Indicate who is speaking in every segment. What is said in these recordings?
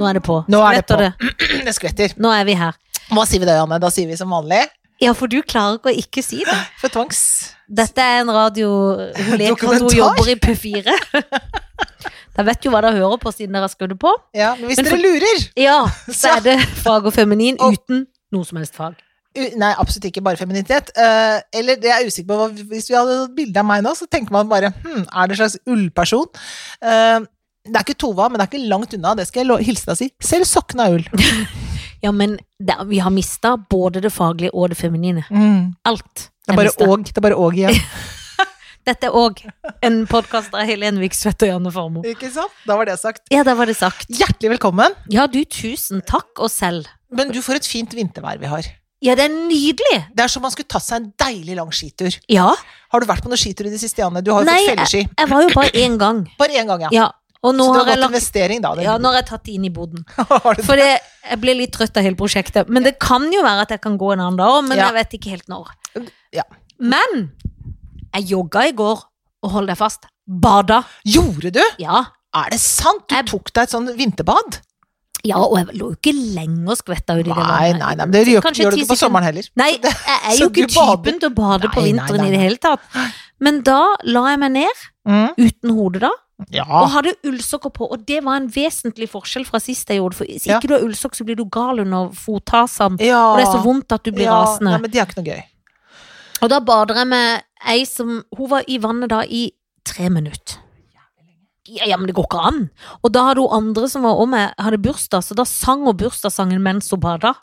Speaker 1: Nå er det på.
Speaker 2: Nå er det
Speaker 1: Skvetter
Speaker 2: på. Det skvetter.
Speaker 1: Nå er vi her.
Speaker 2: Hva sier vi da, Janne? Da sier vi som vanlig
Speaker 1: Ja, for du klarer ikke å ikke si det.
Speaker 2: for tvangs.
Speaker 1: Dette er en radio hun leker at hun
Speaker 2: Dokumentar.
Speaker 1: jobber i P4. Da vet jo hva dere hører på, siden dere har skrudd det på.
Speaker 2: Ja, men hvis
Speaker 1: Men for-
Speaker 2: dere lurer
Speaker 1: Ja, så
Speaker 2: Så-
Speaker 1: er det fag og feminin
Speaker 2: Og-
Speaker 1: uten noe som helst fag.
Speaker 2: u- Nei, absolutt ikke bare femininitet. eh, eller det er jeg usikker på hva, Hvis vi hadde hatt bilde av meg nå, så tenker man bare hm, er det en slags ullperson? Eh, det er ikke Tova, men det er ikke langt unna. Det skal jeg lo- hilse deg og si. Selv sokkene er ull.
Speaker 1: Ja, men det, vi har mista både det faglige og det feminine. Alt.
Speaker 2: Mm, Det er
Speaker 1: er
Speaker 2: bare
Speaker 1: mistet.
Speaker 2: åg. Det er bare åg igjen.
Speaker 1: Dette er òg en podkast av Helene Viksvedt og Janne Formoe.
Speaker 2: ikke sant? Da var det sagt.
Speaker 1: Ja, der var det sagt.
Speaker 2: Hjertelig velkommen.
Speaker 1: Ja, du, tusen takk, og selv.
Speaker 2: Men du, for et fint vintervær vi har.
Speaker 1: Ja, det er nydelig!
Speaker 2: Det er som man skulle tatt seg en deilig lang skitur.
Speaker 1: Ja.
Speaker 2: Har du vært på noen skitur i det siste, Janne? Du har jo
Speaker 1: Nei,
Speaker 2: fått felleski.
Speaker 1: Jeg var jo bare én gang.
Speaker 2: Bare én gang, ja.
Speaker 1: Ja. Og nå
Speaker 2: så du
Speaker 1: har
Speaker 2: har
Speaker 1: jeg
Speaker 2: gått
Speaker 1: lagt
Speaker 2: investering, da. den
Speaker 1: Ja, nå har jeg tatt det inn i boden.
Speaker 2: Har du det?
Speaker 1: For det, jeg ble litt trøtt av hele prosjektet. Men det kan jo være at jeg kan gå en annen dag òg, men
Speaker 2: Ja.
Speaker 1: jeg vet ikke helt når.
Speaker 2: Ja.
Speaker 1: Men jeg jogga i går, og hold deg fast, bada.
Speaker 2: Gjorde du?
Speaker 1: Ja.
Speaker 2: Er det sant? Du
Speaker 1: Jeg-
Speaker 2: tok deg et sånn vinterbad?
Speaker 1: ja, og jeg lå jo ikke lenge og skvetta uti det
Speaker 2: Nei, nei, nei, men det gjør,
Speaker 1: Kanskje
Speaker 2: gjør du
Speaker 1: ti
Speaker 2: ikke på
Speaker 1: sekunder.
Speaker 2: sommeren heller.
Speaker 1: Nei, jeg er jo
Speaker 2: Så
Speaker 1: ikke
Speaker 2: du bader?
Speaker 1: typen til å bade på
Speaker 2: Nei, nei,
Speaker 1: vinteren
Speaker 2: nei,
Speaker 1: i det
Speaker 2: nei.
Speaker 1: hele tatt. Men da la jeg meg ned,
Speaker 2: Mm.
Speaker 1: uten hode da,
Speaker 2: Ja.
Speaker 1: og hadde ullsokker på. Og det var en vesentlig forskjell fra sist jeg gjorde. For hvis
Speaker 2: Ja.
Speaker 1: ikke du har ullsokk, så blir du gal under fottasen.
Speaker 2: ja.
Speaker 1: Og det er så vondt at du blir
Speaker 2: ja.
Speaker 1: rasende.
Speaker 2: Ja, men det er ikke noe gøy.
Speaker 1: Og da bader jeg med ei som Hun var i vannet da i tre minutter. Ja, ja, men det går ikke an. Og da hadde hun andre som var om meg, hadde bursdag, så da sang hun bursdagssangen mens hun bada.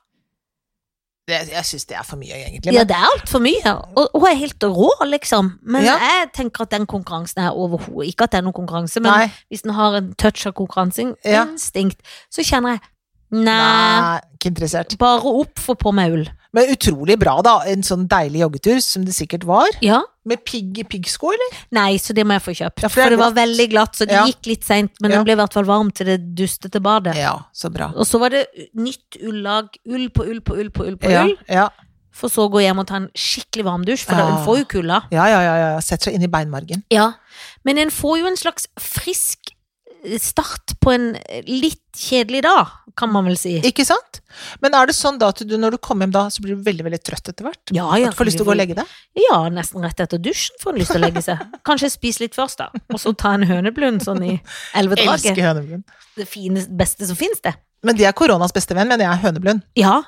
Speaker 2: Det, jeg syns det er for mye, egentlig.
Speaker 1: Ja,
Speaker 2: Men,
Speaker 1: det er altfor mye. Og hun er helt rå, liksom. Men
Speaker 2: Ja.
Speaker 1: jeg tenker at den konkurransen er overhodet Ikke at det er noen konkurranse, men
Speaker 2: nei.
Speaker 1: hvis den har en touch av
Speaker 2: Ja.
Speaker 1: konkurranseinstinkt, så kjenner jeg Nei.
Speaker 2: nei, ikke interessert.
Speaker 1: Bare opp, få på meg ull.
Speaker 2: Men utrolig bra, da. En sånn deilig joggetur, som det sikkert var.
Speaker 1: Ja.
Speaker 2: Med pigg i piggsko, eller?
Speaker 1: Nei, så det må jeg få kjøpt.
Speaker 2: Ja, for det
Speaker 1: for
Speaker 2: er
Speaker 1: det var
Speaker 2: glatt.
Speaker 1: veldig glatt, så det
Speaker 2: Ja.
Speaker 1: gikk litt seint. Men
Speaker 2: Ja.
Speaker 1: det ble i hvert fall varmt til det dustete badet.
Speaker 2: Ja, så bra.
Speaker 1: Og så var det nytt ullag. Ull på ull på ull på ull på
Speaker 2: Ja,
Speaker 1: ull.
Speaker 2: ja,
Speaker 1: For så å gå hjem og ta en skikkelig varmdusj, for da
Speaker 2: Ah.
Speaker 1: en får jo kulda.
Speaker 2: ja, ja, ja, ja. Setter seg inn i beinmargen.
Speaker 1: Ja. Men en får jo en slags frisk eh, start på en eh, litt kjedelig dag, kan man vel si.
Speaker 2: Ikke sant? Men er det sånn da at du når du kommer hjem da, så blir du veldig veldig trøtt etter hvert?
Speaker 1: Ja,
Speaker 2: At
Speaker 1: ja,
Speaker 2: du får lyst til å gå og legge deg?
Speaker 1: Ja, nesten rett etter dusjen får en lyst til å legge seg. Kanskje spise litt først, da. Og så ta en høneblund sånn i elvedraget.
Speaker 2: Elsker høneblund.
Speaker 1: Det fineste, beste som fins, det.
Speaker 2: Men det er koronas beste venn, mener jeg, høneblund.
Speaker 1: Ja.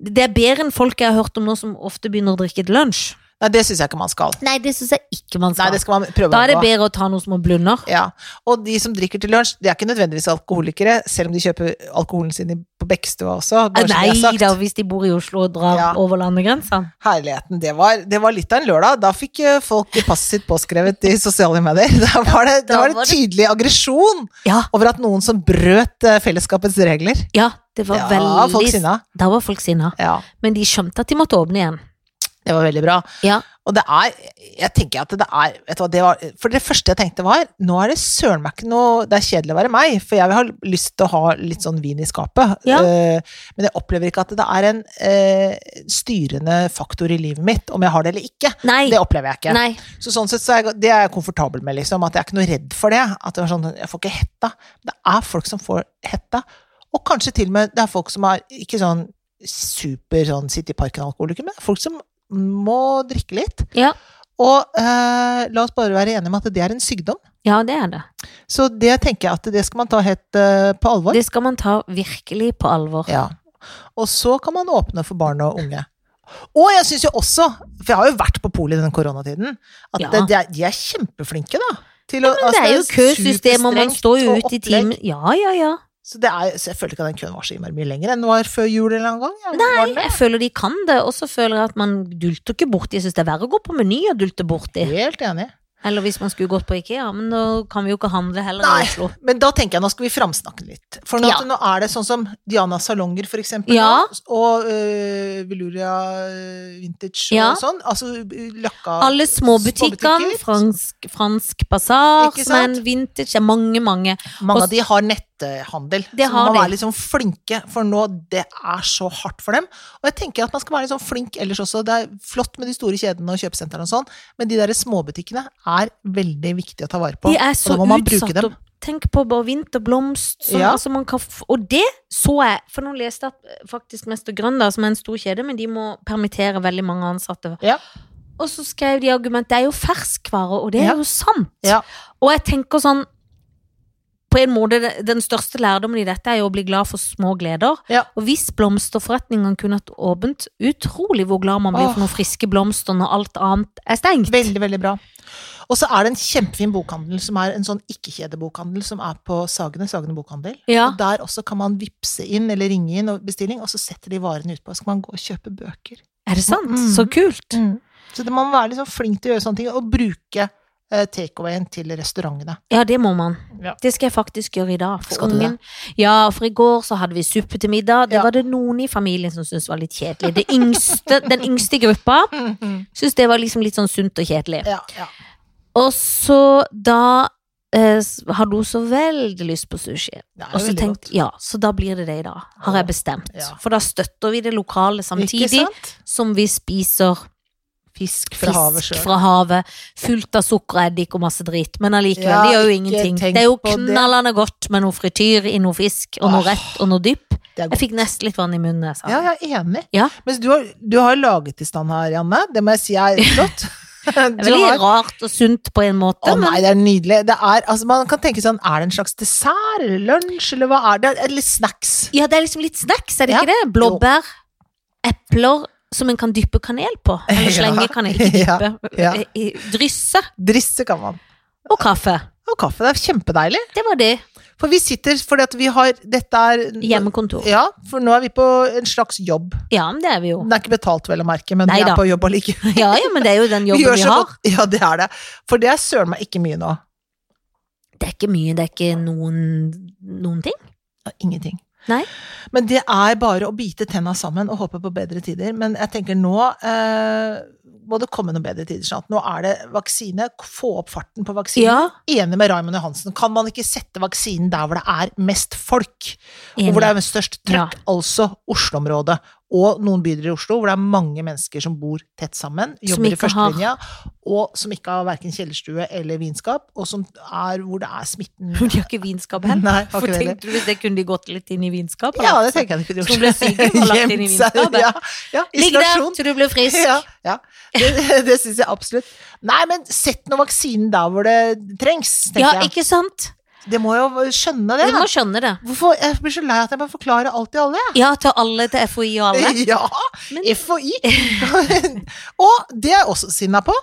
Speaker 1: Det er bedre enn folk jeg har hørt om nå som ofte begynner å drikke til lunsj.
Speaker 2: Nei, det syns jeg ikke man skal.
Speaker 1: Nei, det syns jeg ikke man
Speaker 2: Nei,
Speaker 1: skal.
Speaker 2: det skal man prøve
Speaker 1: Da er det
Speaker 2: å unngå.
Speaker 1: bedre å ta noen små blunder.
Speaker 2: Ja. Og de som drikker til lunsj, de er ikke nødvendigvis alkoholikere, selv om de kjøper alkoholen sin i- på Bekkestua også. Bare så
Speaker 1: Nei
Speaker 2: det er sagt.
Speaker 1: da, hvis de bor i Oslo og drar
Speaker 2: Ja.
Speaker 1: over landegrensene.
Speaker 2: Herligheten. Det var, det var litt av en lørdag. Da fikk eh, folk passet sitt påskrevet i sosiale medier. Da var det,
Speaker 1: Da
Speaker 2: da var
Speaker 1: var
Speaker 2: det
Speaker 1: det-
Speaker 2: tydelig aggresjon
Speaker 1: Ja,
Speaker 2: over at noen som brøt eh, fellesskapets regler.
Speaker 1: ja, det var
Speaker 2: Ja,
Speaker 1: veldig
Speaker 2: folk sinna.
Speaker 1: Da var folk sinna.
Speaker 2: Ja.
Speaker 1: Men de skjønte at de måtte åpne igjen.
Speaker 2: Det var veldig bra.
Speaker 1: Ja.
Speaker 2: Og det er Jeg tenker at det er vet du hva, det var, For det første jeg tenkte var Nå er det søren meg ikke noe Det er kjedelig å være meg, for jeg vil ha lyst til å ha litt sånn vin i skapet.
Speaker 1: Ja.
Speaker 2: Eh, men jeg opplever ikke at det er en eh, styrende faktor i livet mitt, om jeg har det eller ikke.
Speaker 1: Nei.
Speaker 2: Det opplever jeg ikke.
Speaker 1: Nei.
Speaker 2: Så sånn sett så er jeg, det er jeg komfortabel med, liksom. At jeg er ikke noe redd for det. At det var sånn, jeg får ikke hetta. Det er folk som får hetta. Og kanskje til og med det er folk som er ikke sånn super sånn sitte i parken-alkoholiker, men det er folk som må drikke litt.
Speaker 1: Ja.
Speaker 2: Og eh, la oss bare være enige om at det er en sykdom.
Speaker 1: ja, det er det.
Speaker 2: Så det tenker jeg at det skal man ta helt eh, på alvor.
Speaker 1: Det skal man ta virkelig på alvor.
Speaker 2: Ja. Og så kan man åpne for barn og unge. Og jeg syns jo også, for jeg har jo vært på polet i den koronatiden, at
Speaker 1: Ja.
Speaker 2: det, de, er, de er kjempeflinke, da. Til å-
Speaker 1: Men det
Speaker 2: altså,
Speaker 1: er jo køsystem, og man
Speaker 2: superstrengt
Speaker 1: står jo
Speaker 2: og
Speaker 1: ute i
Speaker 2: opplegg.
Speaker 1: timen. Ja, ja, ja.
Speaker 2: Så, det er, så jeg føler ikke at den køen var så innmari mye lenger enn den var før jul en eller annen gang. Ja, var den det?
Speaker 1: Jeg føler de kan det, og så føler jeg at man dulter ikke borti. Jeg syns det er verre å gå på Meny og dulte borti.
Speaker 2: Helt enig.
Speaker 1: Eller hvis man skulle gått på Ikea, men da kan vi jo ikke handle heller i
Speaker 2: Nei.
Speaker 1: Oslo.
Speaker 2: Men da tenker jeg nå skal vi framsnakke litt. For nå,
Speaker 1: Ja.
Speaker 2: nå er det sånn som Dianas salonger, for eksempel.
Speaker 1: Ja.
Speaker 2: nå, Og øh, Veluria øh, Vintage
Speaker 1: Ja.
Speaker 2: og sånn. Altså øh, Løkka
Speaker 1: Alle småbutikkene,
Speaker 2: Småbutikker.
Speaker 1: fransk, fransk basar,
Speaker 2: Ikke
Speaker 1: som er en vintage, det er mange, mange.
Speaker 2: Mange
Speaker 1: Og-
Speaker 2: av de har netthandel.
Speaker 1: Det
Speaker 2: så
Speaker 1: har
Speaker 2: man må
Speaker 1: de.
Speaker 2: være litt sånn flinke, for nå det er så hardt for dem. Og jeg tenker at man skal være litt sånn flink ellers også. Det er flott med de store kjedene og kjøpesentrene og sånn, men de derre småbutikkene er veldig viktige å ta vare på.
Speaker 1: De er
Speaker 2: og
Speaker 1: så
Speaker 2: da må man bruke
Speaker 1: utsatt
Speaker 2: dem.
Speaker 1: og Tenk på bare vinterblomst. Sånn,
Speaker 2: Ja.
Speaker 1: altså man kan f og det så jeg, for nå leste jeg at eh, faktisk Mester Grønda, som er en stor kjede, men de må permittere veldig mange ansatte.
Speaker 2: Ja.
Speaker 1: Og så skrev de argument, det er jo ferskvare, og det er
Speaker 2: Ja.
Speaker 1: jo sant.
Speaker 2: Ja.
Speaker 1: Og jeg tenker sånn, på en måte, det- den største lærdommen i dette er jo å bli glad for små gleder.
Speaker 2: Ja.
Speaker 1: Og hvis blomsterforretningene kunne hatt åpent, utrolig hvor glad man blir for noen friske blomster når alt annet er stengt.
Speaker 2: Veldig, veldig bra. Og så er det en kjempefin bokhandel som er en sånn ikke-kjedebokhandel som er på Sagene, Sagene bokhandel.
Speaker 1: Ja.
Speaker 2: Og der også kan man vippse inn eller ringe inn og bestilling, og så setter de varene utpå. Så kan man gå og kjøpe bøker.
Speaker 1: Er det sant?
Speaker 2: Mm.
Speaker 1: Så kult.
Speaker 2: Så det, man må være liksom flink til å gjøre sånne ting, og bruke eh, takeawayen til restaurantene.
Speaker 1: Ja, det må man.
Speaker 2: Ja.
Speaker 1: Det skal jeg faktisk gjøre i dag. For
Speaker 2: Skal du
Speaker 1: ungen. Ja, for i går så hadde vi suppe til middag. Det
Speaker 2: Ja.
Speaker 1: var det noen i familien som syntes var litt kjedelig. Det yngste, den yngste gruppa syntes det var liksom litt sånn sunt og kjedelig.
Speaker 2: Ja, ja.
Speaker 1: Og så da eh, s- hadde hun så veldig lyst på sushi.
Speaker 2: Det er
Speaker 1: Og
Speaker 2: jo
Speaker 1: så
Speaker 2: veldig
Speaker 1: tenkt,
Speaker 2: godt.
Speaker 1: ja, så da blir det det i dag, har jeg bestemt.
Speaker 2: Ja.
Speaker 1: For da støtter vi det lokale samtidig
Speaker 2: Ikke sant?
Speaker 1: som vi spiser
Speaker 2: Fisk fra
Speaker 1: fisk
Speaker 2: havet sjøl.
Speaker 1: fra havet, fullt av sukker og eddik og masse drit, men allikevel,
Speaker 2: Ja,
Speaker 1: det gjør jo
Speaker 2: ikke
Speaker 1: ingenting.
Speaker 2: tenk
Speaker 1: Det er jo
Speaker 2: på det.
Speaker 1: knallende godt med noe frityr i noe fisk, og noe
Speaker 2: Åh.
Speaker 1: rett og noe dypp.
Speaker 2: Det er
Speaker 1: Jeg
Speaker 2: godt.
Speaker 1: fikk nesten litt vann i munnen da jeg sa
Speaker 2: Ja,
Speaker 1: det.
Speaker 2: jeg er enig.
Speaker 1: Ja.
Speaker 2: Mens du har, du har laget i stand her, Janne. Det må jeg si er flott.
Speaker 1: Det er veldig rart og sunt på en måte,
Speaker 2: Å nei,
Speaker 1: men
Speaker 2: det er nydelig. Det er, altså, man kan tenke sånn, er det en slags dessert eller lunsj, eller hva er det? Eller snacks.
Speaker 1: ja, det er liksom litt snacks, er det
Speaker 2: Ja.
Speaker 1: ikke det? Blåbær, epler som en kan dyppe kanel på, eller
Speaker 2: Ja.
Speaker 1: slenge kanel, ikke
Speaker 2: Ja,
Speaker 1: dyppe,
Speaker 2: ja.
Speaker 1: Eh, i- drysse,
Speaker 2: Drisse kan man.
Speaker 1: og kaffe.
Speaker 2: Og kaffe, det er kjempedeilig.
Speaker 1: Det var det,
Speaker 2: For vi sitter, fordi at vi har, dette er...
Speaker 1: hjemmekontor.
Speaker 2: Ja, for nå er vi på en slags jobb.
Speaker 1: Ja, men det er vi jo.
Speaker 2: Den er ikke betalt vel å merke, men vi
Speaker 1: Neida.
Speaker 2: er på jobb allikevel.
Speaker 1: Ja, ja, men det er jo den
Speaker 2: Vi
Speaker 1: jobben
Speaker 2: gjør
Speaker 1: vi
Speaker 2: så
Speaker 1: har.
Speaker 2: godt- Ja, det er det. For det er søren meg ikke mye nå.
Speaker 1: Det er ikke mye, det er ikke noen, noen ting.
Speaker 2: Ingenting.
Speaker 1: Nei.
Speaker 2: Men det er bare å bite tenna sammen og håpe på bedre tider. Men jeg tenker nå eh, må det komme noen bedre tider snart. Nå er det vaksine. Få opp farten på vaksinen.
Speaker 1: Ja,
Speaker 2: Enig med Raymond Johansen. Kan man ikke sette vaksinen der hvor det er mest folk? Og
Speaker 1: Enig.
Speaker 2: hvor det er størst trøkk, altså Oslo-området. Og noen bydeler i Oslo hvor det er mange mennesker som bor tett sammen, jobber i
Speaker 1: ikke har-
Speaker 2: førstelinja, og som ikke har verken kjellerstue eller vinskap, og som er hvor det er smitten
Speaker 1: de har ikke vinskap heller.
Speaker 2: Nei, har
Speaker 1: For
Speaker 2: ikke det heller.
Speaker 1: tenkte du hvis det kunne de gått litt inn i vinskap?
Speaker 2: Ja, det tenker jeg de kunne gjort.
Speaker 1: Som ble syke og lagt inn i
Speaker 2: Gjemt seg.
Speaker 1: vinskapet.
Speaker 2: Ja, ja,
Speaker 1: Ligg der
Speaker 2: isolasjon.
Speaker 1: til du blir frisk.
Speaker 2: Ja, ja. Det, det syns jeg absolutt. Nei, men sett nå vaksinen der hvor det trengs,
Speaker 1: Ja,
Speaker 2: tenker jeg.
Speaker 1: ikke sant?
Speaker 2: Det må jo skjønne det.
Speaker 1: Vi må skjønne det.
Speaker 2: Hvorfor, jeg blir så lei at jeg må forklare alt til alle. jeg.
Speaker 1: Ja, til alle, til FHI og alle.
Speaker 2: Ja!
Speaker 1: Men-
Speaker 2: FHI. og det er jeg også sinna på,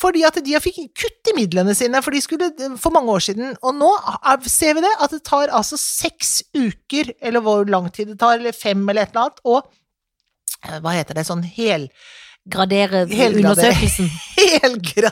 Speaker 2: fordi at de fikk kutt i midlene sine for de skulle for mange år siden. Og nå er- ser vi det, at det tar altså seks uker, eller hvor lang tid det tar, eller fem eller et eller annet, og eh, hva heter det, sånn hel,
Speaker 1: Gradere
Speaker 2: Helgradere.
Speaker 1: undersøkelsen.
Speaker 2: helgra,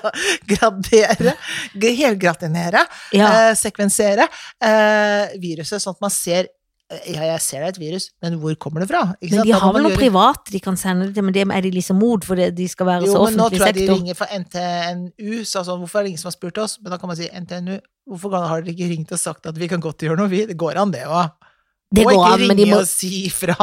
Speaker 2: gradere, g- helgratinere,
Speaker 1: Ja.
Speaker 2: eh, sekvensere eh, viruset, sånn at man ser eh, ja, jeg ser det er et virus, men hvor kommer det fra? Ikke
Speaker 1: Men
Speaker 2: sant?
Speaker 1: de
Speaker 2: Da må
Speaker 1: har vel
Speaker 2: man
Speaker 1: noe
Speaker 2: gjøre-
Speaker 1: privat de kan sende det til, men det er de liksom mod for det, de skal være
Speaker 2: Jo,
Speaker 1: så
Speaker 2: men nå
Speaker 1: Altså offentlig
Speaker 2: tror jeg de
Speaker 1: sektor.
Speaker 2: ringer fra NTNU, sa sånn, hvorfor er det ingen som har spurt oss? Men da kan man si, NTNU, hvorfor har dere ikke ringt og sagt at vi kan godt gjøre noe, vi? Det går an det, hva?
Speaker 1: Det
Speaker 2: Må
Speaker 1: går
Speaker 2: ikke
Speaker 1: an, men de
Speaker 2: ringe
Speaker 1: må
Speaker 2: og si ifra,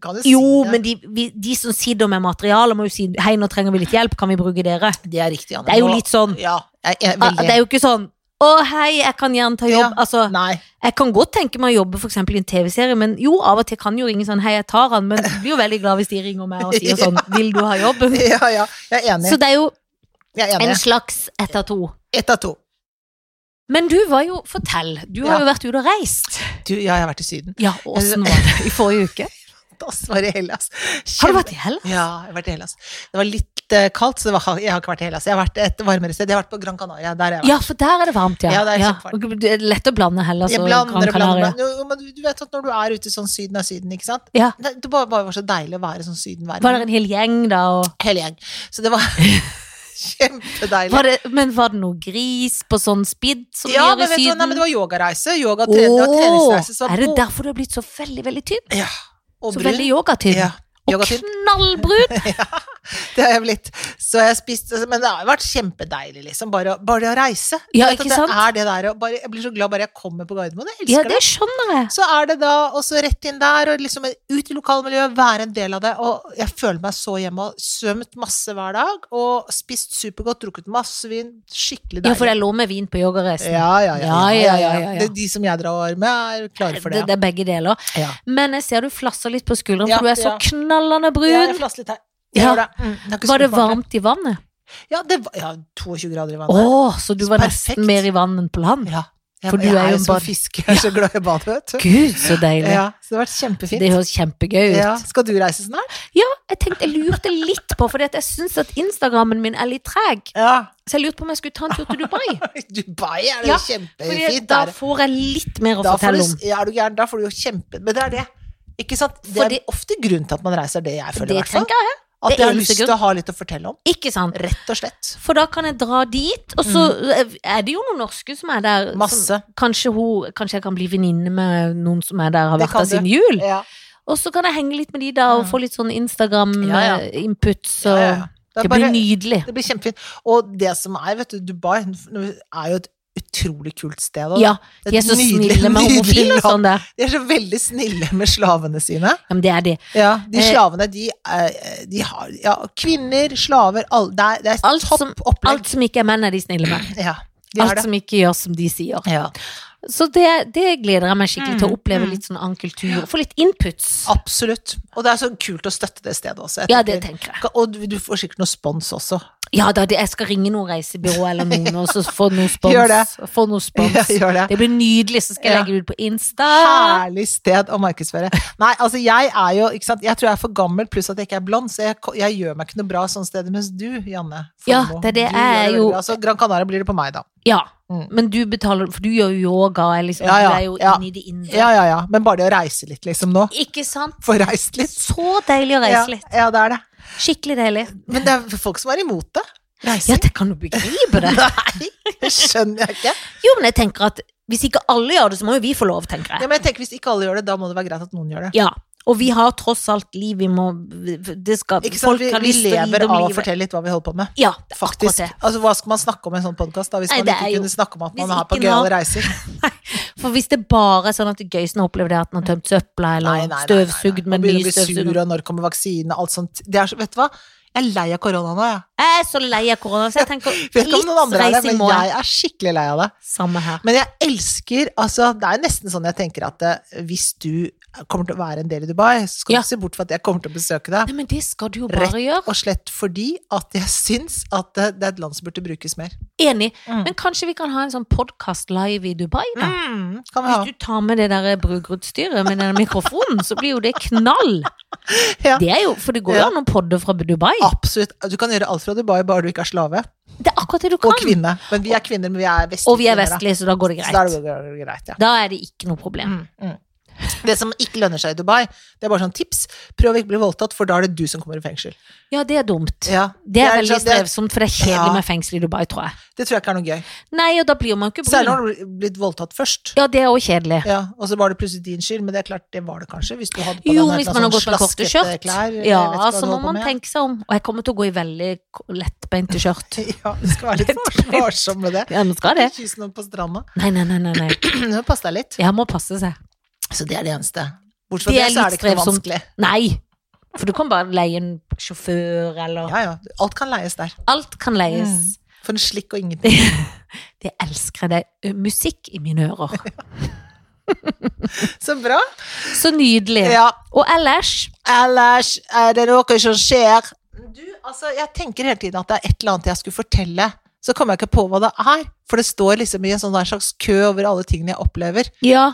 Speaker 2: kan du
Speaker 1: Jo,
Speaker 2: si det?
Speaker 1: men de, vi, de som sitter med materialet, må jo si hei, nå trenger vi litt hjelp, kan vi bruke dere?
Speaker 2: Det er riktig, Anne.
Speaker 1: Det er jo
Speaker 2: Nå-
Speaker 1: litt sånn
Speaker 2: Ja, jeg er
Speaker 1: Ah,
Speaker 2: veldig...
Speaker 1: Det er jo ikke sånn å hei, jeg kan gjerne ta jobb. Altså,
Speaker 2: Nei,
Speaker 1: jeg kan godt tenke meg å jobbe for eksempel i en TV-serie, men jo, av og til kan jo ringe sånn hei, jeg tar han, men jeg blir jo veldig glad hvis de ringer meg og sier sånn vil du ha jobben?
Speaker 2: ja, ja, jeg er enig.
Speaker 1: Så det er jo
Speaker 2: Jeg er
Speaker 1: en
Speaker 2: enig.
Speaker 1: slags ett av to.
Speaker 2: Ett av to.
Speaker 1: Men du var jo, fortell, du har
Speaker 2: Ja.
Speaker 1: jo vært ute og reist.
Speaker 2: Du, ja, jeg har vært i syden.
Speaker 1: Ja, åssen var det i forrige uke?
Speaker 2: Da var det Hellas.
Speaker 1: Har du vært i Hellas?
Speaker 2: Ja, jeg har vært i Hellas. Det var litt eh, kaldt, så det var, jeg har ikke vært i Hellas. Jeg har vært et varmere sted. Jeg har vært på Gran Canaria, der har jeg vært.
Speaker 1: Ja, for der er det varmt, ja.
Speaker 2: Ja, det er kjempevarmt.
Speaker 1: Og Det er lett å blande Hellas
Speaker 2: Jeg
Speaker 1: og
Speaker 2: blander
Speaker 1: Altså, Gran
Speaker 2: og
Speaker 1: Canaria.
Speaker 2: blander, blander. Jo, men du- du vet at når du er ute i sånn Syden av Syden, ikke sant?
Speaker 1: Ja.
Speaker 2: Det, det bare, bare var så deilig å være sånn Syden-verden.
Speaker 1: Var det en hel gjeng da? Og
Speaker 2: Hele gjeng. Så det var kjempedeilig.
Speaker 1: var det, men var det noe gris på sånn spidd som
Speaker 2: ja,
Speaker 1: de gjør
Speaker 2: men vet
Speaker 1: i
Speaker 2: du, hva? nei, men det
Speaker 1: Syden?
Speaker 2: var yogareise. Yoga, tre, det var treningsreise. Så
Speaker 1: Åh,
Speaker 2: var
Speaker 1: er det
Speaker 2: bo-
Speaker 1: derfor du har blitt så veldig, veldig tynn?
Speaker 2: Ja, og
Speaker 1: Så
Speaker 2: brun.
Speaker 1: veldig yogatynn.
Speaker 2: Ja,
Speaker 1: Og
Speaker 2: yogatynn.
Speaker 1: knallbrun!
Speaker 2: Det har jeg blitt. Så jeg har spist Men det har vært kjempedeilig, liksom. Bare, å- bare å reise.
Speaker 1: Ja,
Speaker 2: Vet at
Speaker 1: ikke
Speaker 2: det
Speaker 1: sant?
Speaker 2: er det der, og bare, jeg blir så glad bare jeg kommer på Gardermoen. Jeg elsker
Speaker 1: Ja,
Speaker 2: det.
Speaker 1: det skjønner jeg.
Speaker 2: Så er det da også rett inn der, og liksom ut i lokalmiljøet, være en del av det. Og jeg føler meg så hjemme, og svømt masse hver dag, og spist supergodt, drukket masse vin. Skikkelig
Speaker 1: Ja, for
Speaker 2: deilig.
Speaker 1: jeg lå med vin på yogareisen.
Speaker 2: Ja, ja, ja.
Speaker 1: Ja, ja, ja, ja, ja.
Speaker 2: Det er de som jeg drar med, er klare for
Speaker 1: det,
Speaker 2: det.
Speaker 1: det er begge deler.
Speaker 2: Ja.
Speaker 1: Men jeg ser du flasser litt på skulderen,
Speaker 2: Ja,
Speaker 1: for du er så
Speaker 2: ja.
Speaker 1: knallende
Speaker 2: Ja, jeg
Speaker 1: brun.
Speaker 2: flasser litt her.
Speaker 1: Ja.
Speaker 2: Ja. Det. Mm, det er ikke
Speaker 1: Var det
Speaker 2: så varmt.
Speaker 1: varmt i vannet?
Speaker 2: Ja, det var ja, 22 grader i
Speaker 1: Å,
Speaker 2: vannet.
Speaker 1: så du var
Speaker 2: Perfekt.
Speaker 1: nesten mer i vann enn på land?
Speaker 2: Ja. Jeg,
Speaker 1: For du
Speaker 2: jeg
Speaker 1: er jo en
Speaker 2: som
Speaker 1: bad-
Speaker 2: fisk. Jeg er så glad i bad, vet du.
Speaker 1: Gud, så deilig.
Speaker 2: Ja, så det har vært kjempefint.
Speaker 1: Det høres kjempegøy ut.
Speaker 2: ja. Skal du reise snart?
Speaker 1: Jeg tenkte, jeg lurte litt på, for jeg syns at Instagrammen min er litt treg.
Speaker 2: Ja.
Speaker 1: Så jeg lurte på om jeg skulle ta en tur til Dubai.
Speaker 2: Dubai er det
Speaker 1: Ja,
Speaker 2: jo
Speaker 1: Fordi
Speaker 2: kjempefint.
Speaker 1: da
Speaker 2: der.
Speaker 1: får jeg litt mer å
Speaker 2: Da får
Speaker 1: fortelle
Speaker 2: du,
Speaker 1: om.
Speaker 2: ja, er du gæren, da får du jo kjempe... Men det er det. Ikke sant? Det er
Speaker 1: Fordi-
Speaker 2: ofte grunnen til at man reiser, det jeg føler i
Speaker 1: Det
Speaker 2: hvert fall.
Speaker 1: tenker jeg.
Speaker 2: At
Speaker 1: det
Speaker 2: jeg har
Speaker 1: eneste
Speaker 2: lyst til å ha litt å fortelle om.
Speaker 1: Ikke sant?
Speaker 2: Rett og slett.
Speaker 1: For da kan jeg dra dit, og så er det jo noen norske som er der. Som,
Speaker 2: Masse.
Speaker 1: kanskje, hun, kanskje jeg kan bli venninne med noen som er der har
Speaker 2: Det
Speaker 1: vært
Speaker 2: kan
Speaker 1: der siden
Speaker 2: du.
Speaker 1: jul.
Speaker 2: Ja.
Speaker 1: Og så kan jeg henge litt med de da, og
Speaker 2: Mm.
Speaker 1: få litt sånn Instagram-input.
Speaker 2: Ja, ja.
Speaker 1: Så
Speaker 2: Ja, ja, ja. Det,
Speaker 1: det,
Speaker 2: er
Speaker 1: blir
Speaker 2: bare-
Speaker 1: nydelig.
Speaker 2: det blir kjempefint. Og det som er, vet du, Dubai er jo et utrolig kult sted. og
Speaker 1: Ja,
Speaker 2: det er
Speaker 1: de er
Speaker 2: et
Speaker 1: så
Speaker 2: nydelig-
Speaker 1: snille med homofile
Speaker 2: nydelig
Speaker 1: og sånn der.
Speaker 2: land. De er så veldig snille med slavene sine.
Speaker 1: Ja, men det er det.
Speaker 2: Ja, de
Speaker 1: Eh,
Speaker 2: slavene, de, er- de har ja, Kvinner, slaver, alle Det er, det er
Speaker 1: Alt
Speaker 2: topp
Speaker 1: som-
Speaker 2: opplegg.
Speaker 1: Alt som ikke er menn, er de snille med.
Speaker 2: ja, de
Speaker 1: Alt
Speaker 2: er det.
Speaker 1: som ikke gjør som de sier.
Speaker 2: Ja.
Speaker 1: Så det, det gleder jeg meg skikkelig til å
Speaker 2: Mm,
Speaker 1: oppleve
Speaker 2: mm.
Speaker 1: litt sånn annen kultur. Få litt inputs.
Speaker 2: Absolutt. Og det er så kult å støtte det stedet også. jeg
Speaker 1: Ja,
Speaker 2: tenker.
Speaker 1: det tenker jeg.
Speaker 2: Og du, du får sikkert noe spons også.
Speaker 1: Ja da, det, jeg skal ringe noen reisebyrå eller noen og så få noe spons.
Speaker 2: Gjør det.
Speaker 1: Få noe spons.
Speaker 2: Ja, gjør det.
Speaker 1: Det blir nydelig, så skal jeg
Speaker 2: Ja.
Speaker 1: legge det ut på Insta.
Speaker 2: Herlig sted å markedsføre. Nei, altså jeg er jo ikke sant? Jeg tror jeg er for gammel, pluss at jeg ikke er blond, så jeg, ko- jeg gjør meg ikke noe bra sånne steder. Mens du, Janne
Speaker 1: Ja,
Speaker 2: Formoe,
Speaker 1: det er det jeg
Speaker 2: du gjør
Speaker 1: er jo-
Speaker 2: veldig bra. Så Gran Canaria blir det på meg, da.
Speaker 1: Ja,
Speaker 2: Mm.
Speaker 1: men du betaler, for du gjør jo yoga, eller liksom,
Speaker 2: Ja, ja,
Speaker 1: du er jo
Speaker 2: ja.
Speaker 1: inne i det indre.
Speaker 2: Ja, ja, ja. Men bare det å reise litt, liksom, nå.
Speaker 1: Ikke sant?
Speaker 2: Få reist litt.
Speaker 1: Så deilig å reise litt.
Speaker 2: Ja, ja, det er det.
Speaker 1: Skikkelig deilig.
Speaker 2: Men det er folk som er imot det.
Speaker 1: Ja,
Speaker 2: Reising.
Speaker 1: det kan du begripe det.
Speaker 2: Nei, det skjønner jeg ikke.
Speaker 1: Jo, men jeg tenker at hvis ikke alle gjør det, så må jo vi få lov, tenker
Speaker 2: Ja,
Speaker 1: jeg.
Speaker 2: men jeg tenker Hvis ikke alle gjør det, da må det være greit at noen gjør det.
Speaker 1: Ja, og vi har tross alt liv, vi må, det skal,
Speaker 2: Ikke sant?
Speaker 1: folk
Speaker 2: Vi,
Speaker 1: har
Speaker 2: vi
Speaker 1: lyst til å
Speaker 2: lever
Speaker 1: vite om
Speaker 2: av å
Speaker 1: livet.
Speaker 2: fortelle litt hva vi holder på med.
Speaker 1: Ja, det er akkurat
Speaker 2: Faktisk.
Speaker 1: det.
Speaker 2: Altså, hva skal man snakke om i en sånn podkast, da? Hvis
Speaker 1: Nei,
Speaker 2: man
Speaker 1: det
Speaker 2: ikke
Speaker 1: er jo-
Speaker 2: kunne snakke om at
Speaker 1: Hvis
Speaker 2: man er på
Speaker 1: ikke man-
Speaker 2: gøyale reiser.
Speaker 1: For hvis det bare er sånn at det gøyeste å oppleve det er at man har tømt søpla, eller støvsugd
Speaker 2: Man
Speaker 1: med ny
Speaker 2: begynner å bli sur,
Speaker 1: støvsugd
Speaker 2: og når kommer vaksine, alt sånt. Det er så, vet du hva? Jeg er lei av korona nå, jeg.
Speaker 1: Jeg er så lei av korona, så jeg tenker
Speaker 2: Vet ikke om noen
Speaker 1: litt
Speaker 2: andre er det,
Speaker 1: reising
Speaker 2: men
Speaker 1: må jeg.
Speaker 2: jeg er skikkelig lei av det.
Speaker 1: Samme her.
Speaker 2: Men jeg elsker altså, Det er nesten sånn jeg tenker at eh, hvis du kommer til å være en del i Dubai, så skal
Speaker 1: Ja.
Speaker 2: du ikke se bort fra at jeg kommer til å besøke deg.
Speaker 1: Nei, men det skal du jo
Speaker 2: Rett
Speaker 1: bare gjøre.
Speaker 2: Og slett fordi at jeg syns at eh, det, det er et land som burde brukes mer.
Speaker 1: Enig.
Speaker 2: Mm.
Speaker 1: Men kanskje vi kan ha en sånn podkast live i Dubai, da?
Speaker 2: Kan vi ha.
Speaker 1: Hmm. Hvis du tar med det der brukerutstyret med den mikrofonen, så blir jo det knall.
Speaker 2: Ja.
Speaker 1: Det er jo, for det går jo
Speaker 2: Ja.
Speaker 1: an å podde fra Dubai.
Speaker 2: Absolutt. Du kan gjøre alt fra Dubai, bare du ikke er slave.
Speaker 1: Det er akkurat det du
Speaker 2: Og
Speaker 1: kan.
Speaker 2: kvinne. Men vi er kvinner, men vi er vestlige.
Speaker 1: Og vi er
Speaker 2: kvinner, da.
Speaker 1: vestlige, så da går det
Speaker 2: Så da
Speaker 1: greit.
Speaker 2: er det jo greit, ja.
Speaker 1: Da er det ikke noe problem.
Speaker 2: Mm. Det som ikke lønner seg i Dubai, det er bare sånn tips. Prøv å ikke bli voldtatt, for da er det du som kommer i fengsel.
Speaker 1: Ja, det er dumt.
Speaker 2: Ja,
Speaker 1: Det er veldig
Speaker 2: sånn- det,
Speaker 1: strevsomt, for det er kjedelig
Speaker 2: Ja.
Speaker 1: med fengsel i Dubai, tror jeg.
Speaker 2: det tror jeg ikke er noe gøy.
Speaker 1: Nei, og da blir man ikke
Speaker 2: Særlig
Speaker 1: brun.
Speaker 2: når du har blitt voldtatt først.
Speaker 1: Ja, det er også kjedelig.
Speaker 2: Ja, og så var det plutselig din skyld, men det er klart, det var det kanskje. Hvis du hadde på
Speaker 1: Jo,
Speaker 2: deg
Speaker 1: hvis
Speaker 2: noe
Speaker 1: man har
Speaker 2: sånn
Speaker 1: gått med korte
Speaker 2: slaskete
Speaker 1: skjørt.
Speaker 2: klær, eh, jeg vet ikke
Speaker 1: Ja,
Speaker 2: hva
Speaker 1: så
Speaker 2: du
Speaker 1: må
Speaker 2: holder på
Speaker 1: man
Speaker 2: med.
Speaker 1: tenke seg om. Og jeg kommer til å gå i veldig k- lettbeinte skjørt.
Speaker 2: Ja, du skal være litt varsom med det.
Speaker 1: Ja, men skal det?
Speaker 2: Ikke kysse noen på stranda.
Speaker 1: Nei, nei, nei, nei. nei.
Speaker 2: Så Pass deg litt.
Speaker 1: Jeg må passe seg.
Speaker 2: Så det er det eneste. Bortsett fra
Speaker 1: Det
Speaker 2: det,
Speaker 1: er
Speaker 2: så er det
Speaker 1: litt
Speaker 2: ikke noe
Speaker 1: strevsomt.
Speaker 2: vanskelig.
Speaker 1: Nei! For du kan bare leie en sjåfør, eller
Speaker 2: Ja, Mm. ja. Alt kan leies der.
Speaker 1: Alt kan leies.
Speaker 2: For en slikk og ingenting.
Speaker 1: Det elsker jeg. Det er musikk i mine ører.
Speaker 2: Så bra.
Speaker 1: Så nydelig.
Speaker 2: Ja,
Speaker 1: Og ellers
Speaker 2: Ellers er det noe som skjer. Du, altså, jeg tenker hele tiden at det er et eller annet jeg skulle fortelle. Så kommer jeg ikke på hva det er, for det står liksom i en sånn der slags kø over alle tingene jeg opplever.
Speaker 1: Ja.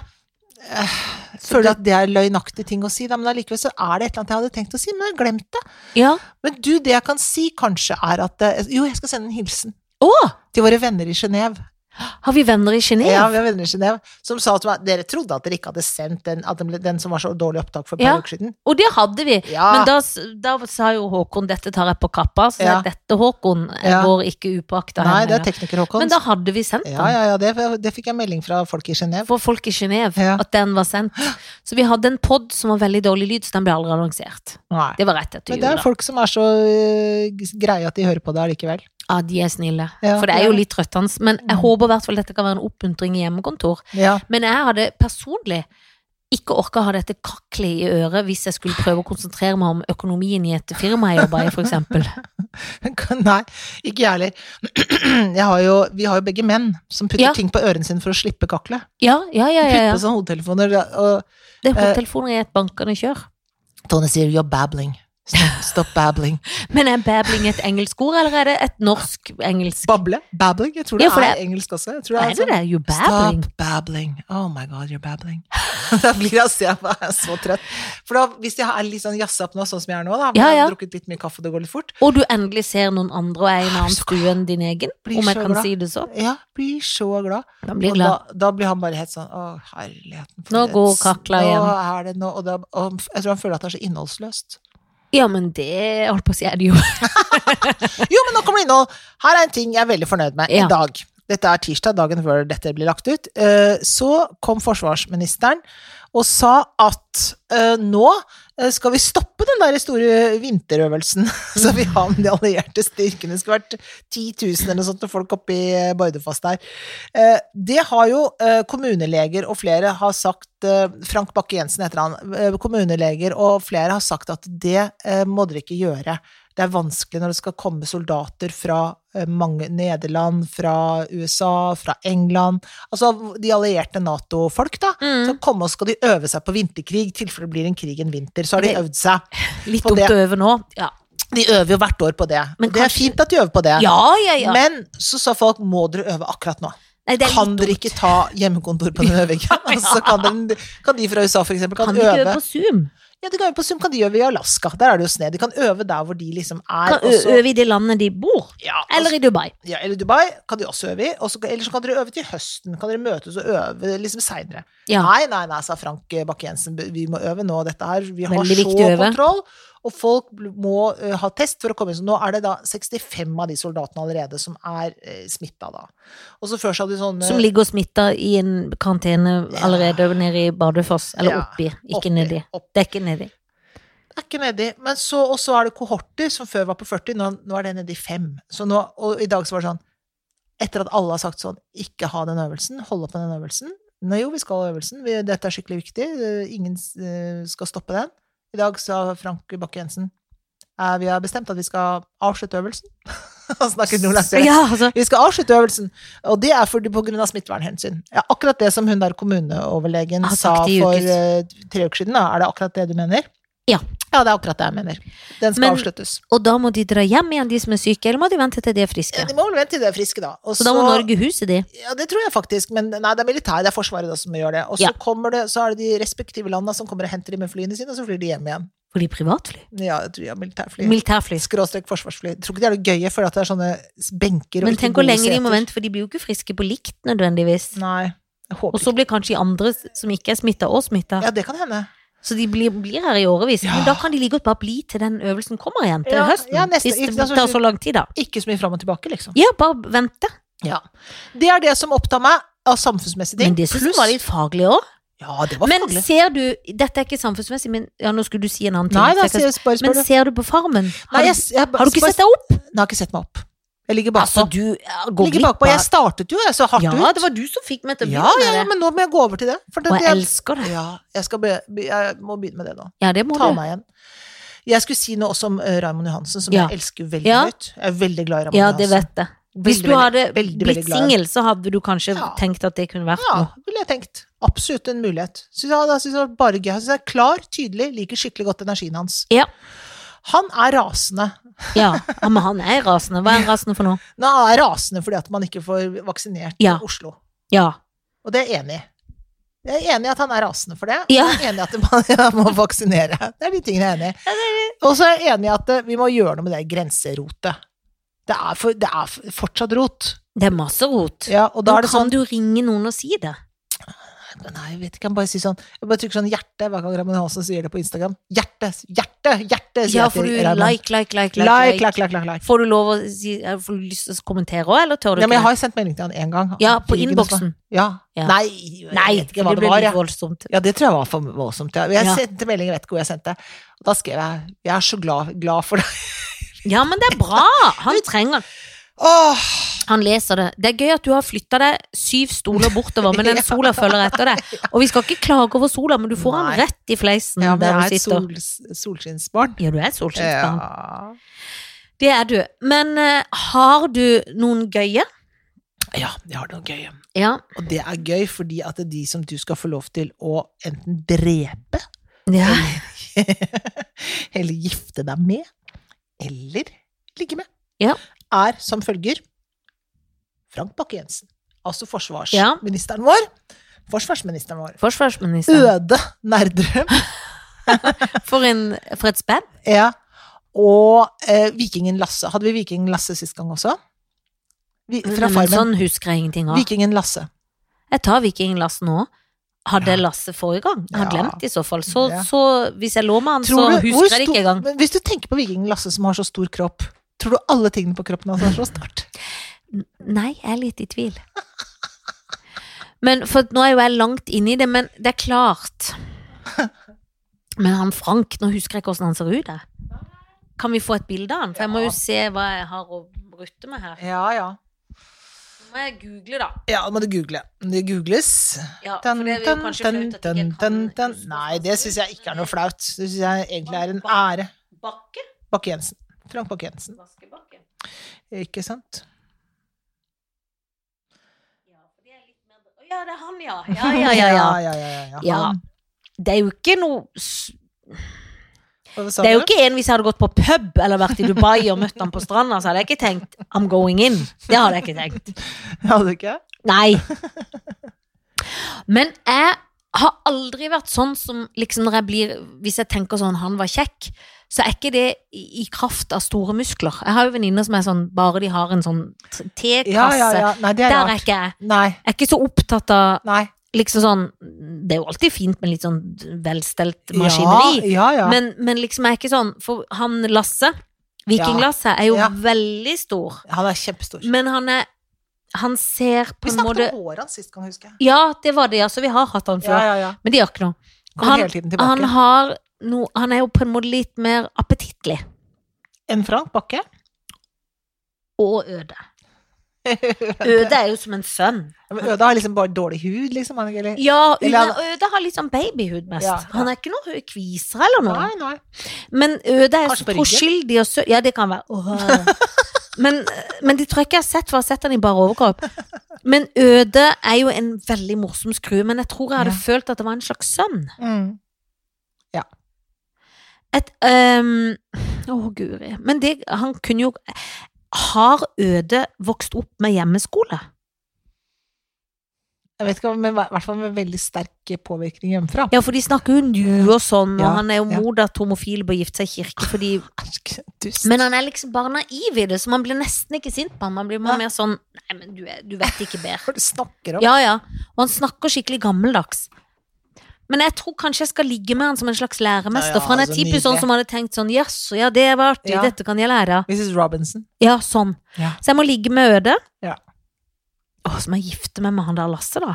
Speaker 2: Føler at det er løgnaktig ting å si, da, men allikevel så er det et eller annet jeg hadde tenkt å si, men jeg har glemt det.
Speaker 1: ja.
Speaker 2: Men du, det jeg kan si kanskje er at eh, Jo, jeg skal sende en hilsen
Speaker 1: Å!
Speaker 2: til våre venner i Genéve.
Speaker 1: Har vi venner i Genéve?
Speaker 2: Ja, vi har venner i Genève som sa til meg dere trodde at dere ikke hadde sendt den, at den, ble, den som var så dårlig opptak for et
Speaker 1: Ja.
Speaker 2: par uker siden.
Speaker 1: Og det hadde vi.
Speaker 2: Ja.
Speaker 1: Men da, s- da sa jo Håkon 'dette tar jeg på kappa', så
Speaker 2: Ja.
Speaker 1: dette, Håkon, eh,
Speaker 2: Ja.
Speaker 1: går ikke upåakta
Speaker 2: Nei, det
Speaker 1: henne.
Speaker 2: er tekniker Håkon.
Speaker 1: Men da hadde vi sendt den.
Speaker 2: Ja, ja, ja, det, det fikk jeg melding fra folk i Genéve.
Speaker 1: For folk i Genéve,
Speaker 2: Ja.
Speaker 1: at den var sendt. Så vi hadde en pod som var veldig dårlig lyd, så den ble aldri annonsert.
Speaker 2: Nei.
Speaker 1: Det var rett etter
Speaker 2: Men
Speaker 1: jul.
Speaker 2: det er
Speaker 1: da.
Speaker 2: folk som er så øh, greie at de hører på det allikevel.
Speaker 1: Ja, de er snille.
Speaker 2: Ja,
Speaker 1: For det er
Speaker 2: det er
Speaker 1: jo
Speaker 2: det.
Speaker 1: litt trøttende. Men jeg
Speaker 2: Mm.
Speaker 1: håper i hvert fall dette kan være en oppmuntring i hjemmekontor.
Speaker 2: Ja.
Speaker 1: Men jeg hadde personlig ikke orka å ha dette kaklet i øret hvis jeg skulle prøve å konsentrere meg om økonomien i et firma jeg jobba i, for eksempel.
Speaker 2: Nei, ikke jeg heller. Jeg har jo, vi har jo begge menn som putter
Speaker 1: Ja.
Speaker 2: ting på ørene sine for å slippe kakle.
Speaker 1: Ja, ja, ja.
Speaker 2: De
Speaker 1: ja,
Speaker 2: putter
Speaker 1: ja.
Speaker 2: på sånne hodetelefoner, og
Speaker 1: Det er
Speaker 2: Eh.
Speaker 1: hodetelefoner i et bankende kjør.
Speaker 2: Tone sier 'you're babbling'. Stop, stop babbling.
Speaker 1: Men er babbling et engelsk ord, eller er det et norsk-engelsk?
Speaker 2: Bable? Babbling? Jeg tror det,
Speaker 1: Ja, for
Speaker 2: er
Speaker 1: det-
Speaker 2: engelsk også. Jeg tror
Speaker 1: Er det
Speaker 2: sånn-
Speaker 1: det? You babbling?
Speaker 2: Stop babbling. Oh my god, you're babbling. da blir jeg, så, jeg bare er så trøtt. For da, hvis jeg er litt sånn jazza opp nå, sånn som jeg er nå, da, hvor
Speaker 1: Ja,
Speaker 2: jeg
Speaker 1: ja.
Speaker 2: har drukket litt mye kaffe, og det går litt fort,
Speaker 1: Og du endelig ser noen andre og er i en annen
Speaker 2: Så-
Speaker 1: stue enn din egen,
Speaker 2: Blir
Speaker 1: om jeg
Speaker 2: så
Speaker 1: kan
Speaker 2: glad.
Speaker 1: si det sånn.
Speaker 2: ja, blir så glad.
Speaker 1: Da blir
Speaker 2: Og
Speaker 1: jeg glad.
Speaker 2: Da, da blir han bare helt sånn Å, herligheten. for
Speaker 1: Nå
Speaker 2: et-
Speaker 1: går kakla
Speaker 2: Nå
Speaker 1: igjen.
Speaker 2: er det nå, og da, og jeg tror han føler at det er så innholdsløst.
Speaker 1: Ja, men det holdt på å si er det jo.
Speaker 2: Jo, men nå kommer det innhold! Her er en ting jeg er veldig fornøyd med
Speaker 1: Ja.
Speaker 2: i dag. Dette er tirsdag, dagen før dette blir lagt ut. Eh, Så kom forsvarsministeren og sa at eh, nå eh, skal vi stoppe den der store vinterøvelsen som vi har med de allierte styrkene. Det skulle vært 10 000 eller noe sånt og folk oppe i eh, Bardufoss der. Eh, Det har jo eh, kommuneleger og flere har sagt eh, Frank Bakke-Jensen heter han. eh, Kommuneleger og flere har sagt at det eh, må dere ikke gjøre. Det er vanskelig når det skal komme soldater fra eh, mange Nederland, fra USA, fra England Altså de allierte Nato-folk, da.
Speaker 1: Mm.
Speaker 2: Så komme og skal de øve seg på vinterkrig, i tilfelle det blir en krig en vinter. Så har de
Speaker 1: Det-
Speaker 2: øvd seg.
Speaker 1: Litt
Speaker 2: på
Speaker 1: dumt
Speaker 2: det.
Speaker 1: å øve nå. Ja,
Speaker 2: De øver jo hvert år på det.
Speaker 1: Men
Speaker 2: det er
Speaker 1: kanskje-
Speaker 2: fint at de øver på det.
Speaker 1: ja, ja. ja.
Speaker 2: Men så sa folk må dere øve akkurat nå.
Speaker 1: Nei, det er
Speaker 2: Kan
Speaker 1: litt
Speaker 2: dere
Speaker 1: dumt.
Speaker 2: ikke ta hjemmekontor på den øvingen? altså, kan, den, kan de fra USA for eksempel kan,
Speaker 1: Kan de ikke øve
Speaker 2: øve
Speaker 1: på Zoom?
Speaker 2: Ja, de kan øve på Zoom, kan de øve i Alaska? Der er det jo sne. De kan øve der hvor de liksom er.
Speaker 1: Kan
Speaker 2: og så-
Speaker 1: ø- øve i det landet de bor?
Speaker 2: ja, og
Speaker 1: Eller i Dubai?
Speaker 2: ja, eller Dubai kan de også øve i. Og så, eller så kan dere øve til høsten. Kan dere møtes og øve liksom seinere.
Speaker 1: Ja.
Speaker 2: Nei, nei, nei, sa Frank Bakke-Jensen. Vi må øve nå, dette her. Vi har
Speaker 1: Veldig
Speaker 2: så
Speaker 1: viktig å øve.
Speaker 2: kontroll. Og folk bl- må eh, ha test for å komme inn. Så nå er det da 65 av de soldatene allerede som er uh, smitta, da. Og så før så hadde de sånne
Speaker 1: Som ligger og smitter i en karantene allerede nede i Bardufoss. Eller
Speaker 2: Ja,
Speaker 1: oppi, ikke
Speaker 2: oppi,
Speaker 1: nedi.
Speaker 2: oppi.
Speaker 1: Det er ikke nedi.
Speaker 2: Det er ikke nedi. Men så og så er det kohorter, som før var på 40, nå, nå er det nedi 5. Så nå, og i dag så var det sånn Etter at alle har sagt sånn Ikke ha den øvelsen, hold opp med den øvelsen. Nei jo, vi skal ha øvelsen. Vi, dette er skikkelig viktig. eh, Ingen eh, skal stoppe den. I dag sa Frank Bakke-Jensen eh, Vi har bestemt at vi skal avslutte øvelsen. Han snakker nordlandsk.
Speaker 1: Ja, altså.
Speaker 2: Vi skal avslutte øvelsen, og det er fordi på grunn av smittevernhensyn. Ja, akkurat det som hun der kommuneoverlegen
Speaker 1: Har
Speaker 2: sa
Speaker 1: sagt i
Speaker 2: for
Speaker 1: Ah, ukes.
Speaker 2: eh, tre uker siden, da. er det akkurat det du mener?
Speaker 1: Ja.
Speaker 2: Ja, det er akkurat det jeg mener. Den skal
Speaker 1: Men-
Speaker 2: avsluttes.
Speaker 1: Og da må de dra hjem igjen, de som er syke, eller må de vente til de er friske?
Speaker 2: De må vel vente til de er friske, da. Og
Speaker 1: Så da må Norge huset de.
Speaker 2: Ja, det tror jeg faktisk, men nei, det er militæret, det er Forsvaret da som gjør det. Og så
Speaker 1: Ja.
Speaker 2: kommer det, så er det de respektive landa som kommer og henter dem med flyene sine, og så flyr de hjem igjen.
Speaker 1: For de er privatfly?
Speaker 2: Ja, jeg tror de har militærfly.
Speaker 1: Militærfly.
Speaker 2: Skråstrek forsvarsfly. Jeg tror ikke det er noe gøy, jeg føler at det er sånne benker og
Speaker 1: Men
Speaker 2: ikke
Speaker 1: tenk hvor
Speaker 2: gode
Speaker 1: lenge de må
Speaker 2: seter.
Speaker 1: vente, for de blir jo ikke friske på likt nødvendigvis.
Speaker 2: Nei, jeg håper
Speaker 1: Og så
Speaker 2: ikke.
Speaker 1: blir kanskje de andre som ikke er smitta, òg smitta.
Speaker 2: Ja, det kan hende.
Speaker 1: Så de blir, blir her i årevis.
Speaker 2: Ja.
Speaker 1: Men da kan de like godt bare bli til den øvelsen kommer igjen, til
Speaker 2: Ja,
Speaker 1: høsten.
Speaker 2: ja, neste-
Speaker 1: hvis
Speaker 2: ikke
Speaker 1: det
Speaker 2: sant,
Speaker 1: tar
Speaker 2: så-
Speaker 1: så lang tid, da.
Speaker 2: Ikke så mye fram og tilbake, liksom.
Speaker 1: Ja, bare vente.
Speaker 2: Ja. Det er det som opptar meg av samfunnsmessige ting.
Speaker 1: Men det syns jeg
Speaker 2: pluss-
Speaker 1: var litt faglig òg.
Speaker 2: Ja, det var
Speaker 1: Men
Speaker 2: faglig.
Speaker 1: ser du Dette er ikke samfunnsmessig, men ja, nå skulle du si en annen ting.
Speaker 2: Nei,
Speaker 1: så
Speaker 2: da,
Speaker 1: jeg kan-
Speaker 2: sier jeg bare
Speaker 1: men
Speaker 2: spør du.
Speaker 1: ser du på Farmen? Har, du-
Speaker 2: Nei, jeg, jeg,
Speaker 1: har du ikke
Speaker 2: bare-
Speaker 1: sett deg opp?
Speaker 2: Nei, jeg har ikke sett meg opp. Jeg ligger bakpå.
Speaker 1: Altså, du ja, går
Speaker 2: ligger
Speaker 1: glipp
Speaker 2: bakpå. Jeg
Speaker 1: av
Speaker 2: startet jo, jeg så hardt ut.
Speaker 1: Ja, det var du som fikk meg til å
Speaker 2: ja,
Speaker 1: begynne
Speaker 2: ja, ja,
Speaker 1: med det.
Speaker 2: men nå må jeg gå over til det. For det,
Speaker 1: Og jeg
Speaker 2: det
Speaker 1: elsker det.
Speaker 2: Ja, jeg, skal be, be- jeg må begynne med det nå.
Speaker 1: Ja, det må
Speaker 2: Ta
Speaker 1: du.
Speaker 2: meg igjen. Jeg skulle si noe også om eh, Raymond Johansen, som
Speaker 1: Ja.
Speaker 2: jeg elsker veldig
Speaker 1: Ja.
Speaker 2: høyt. Jeg er veldig glad i Raymond
Speaker 1: Ja, det
Speaker 2: Johansen.
Speaker 1: vet jeg. Hvis
Speaker 2: Veldig,
Speaker 1: du hadde
Speaker 2: veldig, veldig, veldig
Speaker 1: blitt
Speaker 2: glad i ham.
Speaker 1: singel, så hadde du kanskje
Speaker 2: Ja.
Speaker 1: tenkt at det kunne vært
Speaker 2: Ja,
Speaker 1: noe.
Speaker 2: ville jeg tenkt. Absolutt en mulighet. Synes jeg, jeg synes det var bare gøy. Jeg synes jeg er klar, tydelig, liker skikkelig godt energien hans.
Speaker 1: Ja.
Speaker 2: Han er rasende.
Speaker 1: Ja, ja, men han er rasende. Hva er han rasende for nå?
Speaker 2: Nå han er rasende fordi at man ikke får vaksinert
Speaker 1: Ja.
Speaker 2: i Oslo.
Speaker 1: Ja.
Speaker 2: Og det er jeg enig i. Jeg er enig i at han er rasende for det.
Speaker 1: Ja.
Speaker 2: Og jeg er enig i at man ja, må vaksinere. Det er de tingene jeg er enig i. Og så er jeg enig i at eh, vi må gjøre noe med det grenserotet. Det er, for, det er for- fortsatt rot.
Speaker 1: Det er masse rot.
Speaker 2: Ja, og da
Speaker 1: da
Speaker 2: er det
Speaker 1: kan
Speaker 2: sånn
Speaker 1: du ringe noen og si det.
Speaker 2: Nei, jeg vet ikke, jeg kan bare si sånn Jeg bare trykker sånn hjerte hver gang Raymond Hansen sier det på Instagram. Hjerte, hjerte, hjerte! sier
Speaker 1: Ja,
Speaker 2: jeg til
Speaker 1: for du
Speaker 2: Raymond.
Speaker 1: like, like, like, like,
Speaker 2: like, like, like, like, like.
Speaker 1: Får du lov å si eh, Får du lyst til å kommentere òg, eller tør du
Speaker 2: Nei, men jeg
Speaker 1: ikke?
Speaker 2: har sendt melding til han én gang.
Speaker 1: Ja, på
Speaker 2: Fikk ikke noe svar.
Speaker 1: innboksen.
Speaker 2: Ja.
Speaker 1: Ja.
Speaker 2: Nei, jeg
Speaker 1: Nei,
Speaker 2: vet ikke
Speaker 1: for det
Speaker 2: hva det
Speaker 1: ble
Speaker 2: var.
Speaker 1: litt
Speaker 2: Jeg.
Speaker 1: voldsomt.
Speaker 2: Ja, det tror jeg var for voldsomt. Ja. Jeg
Speaker 1: Ja.
Speaker 2: sendte melding, jeg vet ikke hvor jeg sendte. Og da skrev jeg 'Jeg er så glad, glad for deg'.
Speaker 1: Ja, men det er bra! Han trenger
Speaker 2: Åh,
Speaker 1: Han leser det. Det er gøy at du har flytta deg syv stoler bortover, men den
Speaker 2: Ja.
Speaker 1: sola følger etter deg. Og vi skal ikke klage over sola, men du får
Speaker 2: Nei.
Speaker 1: han rett i fleisen
Speaker 2: ja, men
Speaker 1: der
Speaker 2: jeg er
Speaker 1: du
Speaker 2: et
Speaker 1: sitter.
Speaker 2: sol, solskinnsbarn.
Speaker 1: Ja, du er et solskinnsbarn.
Speaker 2: Ja.
Speaker 1: Det er du. Men eh, har du noen gøye?
Speaker 2: ja, jeg har noe gøy.
Speaker 1: Ja.
Speaker 2: Og det er gøy fordi at det er de som du skal få lov til å enten drepe
Speaker 1: ja.
Speaker 2: eller gifte deg med, eller ligge med,
Speaker 1: Ja.
Speaker 2: er som følger Frank Bakke-Jensen, altså
Speaker 1: Ja.
Speaker 2: forsvarsministeren vår, forsvarsministeren vår,
Speaker 1: Forsvarsministeren.
Speaker 2: Øde Nerdrum,
Speaker 1: For, en, for et spenn?
Speaker 2: ja, og eh, Vikingen Lasse. Hadde vi Vikingen Lasse sist gang også? Vi, fra
Speaker 1: Men
Speaker 2: Farmen.
Speaker 1: Sånn husker jeg ingenting av.
Speaker 2: Vikingen Lasse.
Speaker 1: Jeg tar Viking-Lasse nå. Hadde jeg Lasse forrige gang? Jeg har
Speaker 2: Ja.
Speaker 1: glemt i så fall. Så,
Speaker 2: Ja.
Speaker 1: så hvis jeg lå med han, Sånn så
Speaker 2: Tror du- hvor
Speaker 1: husker jeg det
Speaker 2: stor-
Speaker 1: ikke engang.
Speaker 2: Men Hvis du tenker på Vikingen Lasse som har så stor kropp, tror du alle tingene på kroppen hans er så stort?
Speaker 1: N- Nei, jeg er litt i tvil. Men, for nå er jo jeg langt inne i det, men det er klart. Men han Frank, nå husker jeg ikke hvordan han ser ut. Jeg. Kan vi få et bilde av han? For jeg må
Speaker 2: Ja.
Speaker 1: jo se hva jeg har å rutte med her.
Speaker 2: Ja, ja.
Speaker 1: Nå må jeg google, da.
Speaker 2: Ja, det må du google. Det googles.
Speaker 1: Ja, for
Speaker 2: Dun,
Speaker 1: det er jo
Speaker 2: dun,
Speaker 1: kanskje
Speaker 2: dun,
Speaker 1: flaut at jeg
Speaker 2: dun,
Speaker 1: ikke kan liksom
Speaker 2: dun, dun.
Speaker 1: huske
Speaker 2: Nei, det syns jeg ikke er noe flaut. Det syns jeg egentlig er en ære.
Speaker 1: Bakke?
Speaker 2: Bakke-Jensen. Frank Bakke-Jensen.
Speaker 1: Vaskebakke?
Speaker 2: Ikke sant?
Speaker 1: Ja, for det er litt mer Å ja, det er han, ja. Ja, ja, ja. ja.
Speaker 2: ja, ja, ja, ja.
Speaker 1: Ja.
Speaker 2: Han.
Speaker 1: Det er jo ikke noe s-
Speaker 2: Hva sa
Speaker 1: Det er jo
Speaker 2: du?
Speaker 1: ikke en hvis jeg hadde gått på pub eller vært i Dubai og møtt han på stranda, så hadde jeg ikke tenkt 'I'm going in'. Det hadde jeg ikke tenkt.
Speaker 2: Hadde du ikke?
Speaker 1: Nei. Men jeg har aldri vært sånn som liksom når jeg blir Hvis jeg tenker sånn 'han var kjekk', så er ikke det i i kraft av store muskler. Jeg har jo venninner som er sånn bare de har en sånn t- tekasse.
Speaker 2: Ja, ja, ja. Nei, det er
Speaker 1: Der er
Speaker 2: rart.
Speaker 1: ikke jeg.
Speaker 2: Nei.
Speaker 1: Jeg er ikke så opptatt av
Speaker 2: Nei.
Speaker 1: liksom sånn Det er jo alltid fint med litt sånn velstelt
Speaker 2: Ja,
Speaker 1: maskineri.
Speaker 2: Ja, ja.
Speaker 1: Men, men liksom jeg er ikke sånn For han Lasse, Viking-Lasse, er jo
Speaker 2: Ja.
Speaker 1: veldig stor.
Speaker 2: Han er kjempestor.
Speaker 1: Men han er Han ser på
Speaker 2: Vi
Speaker 1: en måte
Speaker 2: snakket om håret hans sist gang, husker jeg.
Speaker 1: Ja, det var det, ja. Så vi har hatt han
Speaker 2: Ja,
Speaker 1: før.
Speaker 2: ja, ja.
Speaker 1: Men det gjør ikke noe.
Speaker 2: Kommer
Speaker 1: Han-
Speaker 2: hele tiden
Speaker 1: Han
Speaker 2: tilbake.
Speaker 1: har noe Han er jo på en måte litt mer appetittlig.
Speaker 2: En Frank Bakke?
Speaker 1: Og øde. Øde er jo som en sønn.
Speaker 2: Men Øde har liksom bare dårlig hud, liksom? han, Eller?
Speaker 1: Ja,
Speaker 2: Eller han-
Speaker 1: Une- Øde har litt sånn babyhud mest.
Speaker 2: Ja, ja.
Speaker 1: Han er ikke noe kviser eller noe.
Speaker 2: Nei, nei.
Speaker 1: Men Øde er
Speaker 2: Kanskje
Speaker 1: så
Speaker 2: på ryggen?
Speaker 1: troskyldig og sø... Ja, det kan være. Åh. Men, men det tror jeg ikke jeg har sett, for jeg har sett han i bare overkropp. Men Øde er jo en veldig morsom skrue, men jeg tror jeg hadde
Speaker 2: Ja.
Speaker 1: følt at det var en slags sønn.
Speaker 2: Mm.
Speaker 1: Et ehm, Å, guri. Men det, han kunne jo Har Øde vokst opp med hjemmeskole?
Speaker 2: Jeg vet ikke, men i hvert fall med veldig sterk påvirkning hjemmefra.
Speaker 1: Ja, for de snakker jo nu og sånn, og
Speaker 2: Ja,
Speaker 1: han er jo
Speaker 2: ja. Ah,
Speaker 1: mot at homofile bør gifte seg i kirke, fordi
Speaker 2: Æsj, dust.
Speaker 1: Men han er liksom bare naiv i det, så man blir nesten ikke sint på han. Man blir bare
Speaker 2: Nei.
Speaker 1: mer sånn Nei, men du, er, du vet ikke bedre.
Speaker 2: Hva er det du snakker om?
Speaker 1: Ja, ja. Og han snakker skikkelig gammeldags. Men jeg tror kanskje jeg skal ligge med han som en slags læremester.
Speaker 2: Ja, ja,
Speaker 1: for han er
Speaker 2: så
Speaker 1: typisk sånn
Speaker 2: nydelig.
Speaker 1: som hadde tenkt sånn Yes, ja, det var artig,
Speaker 2: Ja.
Speaker 1: dette kan jeg lære av.
Speaker 2: Mrs. Robinson.
Speaker 1: Ja, sånn.
Speaker 2: Ja.
Speaker 1: Så jeg må ligge med Øde.
Speaker 2: Ja.
Speaker 1: Å, så må jeg gifte meg med han der Lasse, da.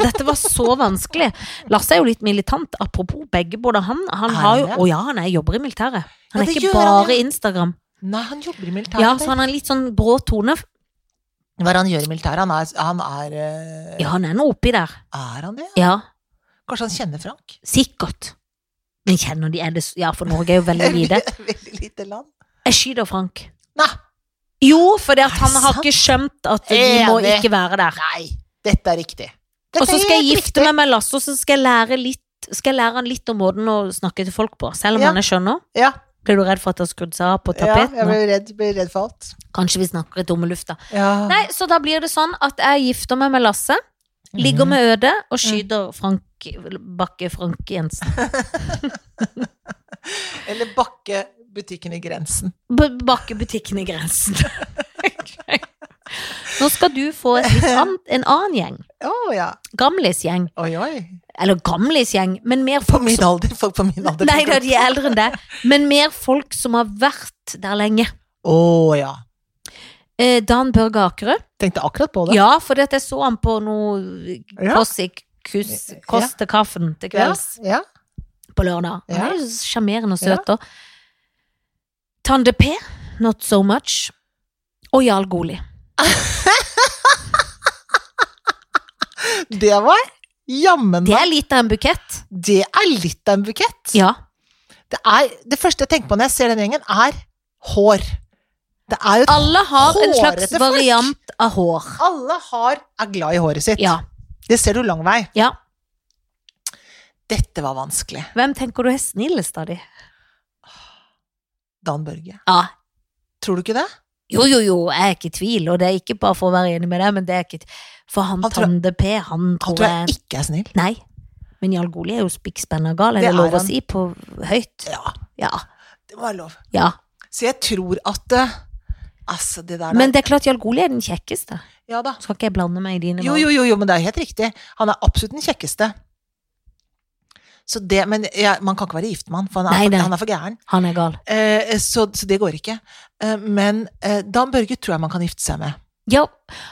Speaker 1: Dette var så vanskelig. Lasse er jo litt militant, apropos begge. Både han Han
Speaker 2: Er
Speaker 1: har jo
Speaker 2: han det?
Speaker 1: Å ja, han er, jobber i militæret. Han er
Speaker 2: Ja, det
Speaker 1: ikke
Speaker 2: gjør han,
Speaker 1: bare
Speaker 2: ja.
Speaker 1: Instagram.
Speaker 2: Nei, han jobber i militæret.
Speaker 1: Ja, så han har en litt sånn brå tone.
Speaker 2: Hva er det han gjør i militæret? Han er, han er eh,
Speaker 1: Ja, han er nå oppi der.
Speaker 2: Er han det?
Speaker 1: Ja,
Speaker 2: Kanskje han kjenner Frank?
Speaker 1: sikkert. Men kjenner de er det s- Ja, for Norge er jo veldig lite.
Speaker 2: Veldig lite land.
Speaker 1: Jeg skyter Frank.
Speaker 2: Nei,
Speaker 1: Jo, for
Speaker 2: Er det
Speaker 1: han har
Speaker 2: sant?
Speaker 1: ikke skjønt at de må
Speaker 2: Enig.
Speaker 1: ikke være der.
Speaker 2: nei, dette er riktig. Dette
Speaker 1: Og så
Speaker 2: er
Speaker 1: skal jeg
Speaker 2: helt
Speaker 1: gifte
Speaker 2: riktig.
Speaker 1: meg med Lasse, og så skal jeg lære litt skal jeg lære han litt om måten å snakke til folk på, selv om
Speaker 2: Ja.
Speaker 1: han er skjønner.
Speaker 2: Ja,
Speaker 1: Blir du redd for at det har skrudd seg av på
Speaker 2: ja
Speaker 1: tapeten?
Speaker 2: jeg blir redd, blir redd for alt.
Speaker 1: Kanskje vi snakker i tomme lufta.
Speaker 2: Ja.
Speaker 1: Nei, så da blir det sånn at jeg gifter meg med Lasse, ligger
Speaker 2: Mhm.
Speaker 1: med Øde
Speaker 2: Mm.
Speaker 1: og skyter Frank Bakke Frank Jensen.
Speaker 2: Eller Bakke butikken i grensen.
Speaker 1: B Bakke butikken i grensen. Nå skal du få et litt annet, en annen gjeng.
Speaker 2: Å ja.
Speaker 1: Gamlisgjeng.
Speaker 2: Oi, oi.
Speaker 1: Eller gamlisgjeng, men mer
Speaker 2: På
Speaker 1: folk
Speaker 2: min
Speaker 1: som
Speaker 2: alder. Folk på min alder.
Speaker 1: Nei da, de er eldre enn det. Men mer folk som har vært der lenge.
Speaker 2: Å ja.
Speaker 1: Eh, Dan Børge Akerø.
Speaker 2: Tenkte akkurat på det.
Speaker 1: Ja, for jeg så han på noe eh,
Speaker 2: Ja.
Speaker 1: Kåss i kus,
Speaker 2: Ja.
Speaker 1: Kåss til kaffen til kvelds
Speaker 2: ja.
Speaker 1: på lørdag. Han
Speaker 2: Ja.
Speaker 1: er jo sjarmerende og søt òg. Tande P, Not So Much. Og Jarl Goli.
Speaker 2: Det var jammen
Speaker 1: Det er litt av en bukett.
Speaker 2: Det er litt av en bukett.
Speaker 1: Ja.
Speaker 2: Det, er, det første jeg tenker på når jeg ser den gjengen, er hår. Det er jo
Speaker 1: Alle har en slags
Speaker 2: Hårete folk.
Speaker 1: variant av hår.
Speaker 2: Alle har, er glad i håret sitt.
Speaker 1: Ja.
Speaker 2: Det ser du lang vei.
Speaker 1: ja.
Speaker 2: Dette var vanskelig.
Speaker 1: Hvem tenker du er snillest av de?
Speaker 2: Dan Børge.
Speaker 1: Ja.
Speaker 2: Tror du ikke det?
Speaker 1: Jo, jo, jo, jeg er ikke i tvil, og det er ikke bare for å være enig med deg, men det er ikke For han,
Speaker 2: Han tror-
Speaker 1: Tande P, han
Speaker 2: Han
Speaker 1: tror
Speaker 2: tror jeg
Speaker 1: jeg
Speaker 2: ikke er snill.
Speaker 1: Nei. Men Jarl Goli er jo spikkspenna gal,
Speaker 2: Det
Speaker 1: er det lov
Speaker 2: er
Speaker 1: å
Speaker 2: han.
Speaker 1: si på høyt?
Speaker 2: Ja,
Speaker 1: Ja.
Speaker 2: det må være lov.
Speaker 1: ja.
Speaker 2: Så jeg tror at eh, Altså, det der
Speaker 1: Men det er klart Jarl Goli er den kjekkeste.
Speaker 2: Ja da.
Speaker 1: Skal ikke jeg blande meg i dine
Speaker 2: Jo, jo, jo, jo, men det er helt riktig. Han er absolutt den kjekkeste. Så det, men jeg- man kan ikke være gift med han, for han er,
Speaker 1: Nei,
Speaker 2: for,
Speaker 1: nei.
Speaker 2: Han er for gæren.
Speaker 1: valg? Han er gal.
Speaker 2: Eh, så, så det går ikke. Eh, men eh, Dan Børge tror jeg man kan gifte seg med.
Speaker 1: Ja,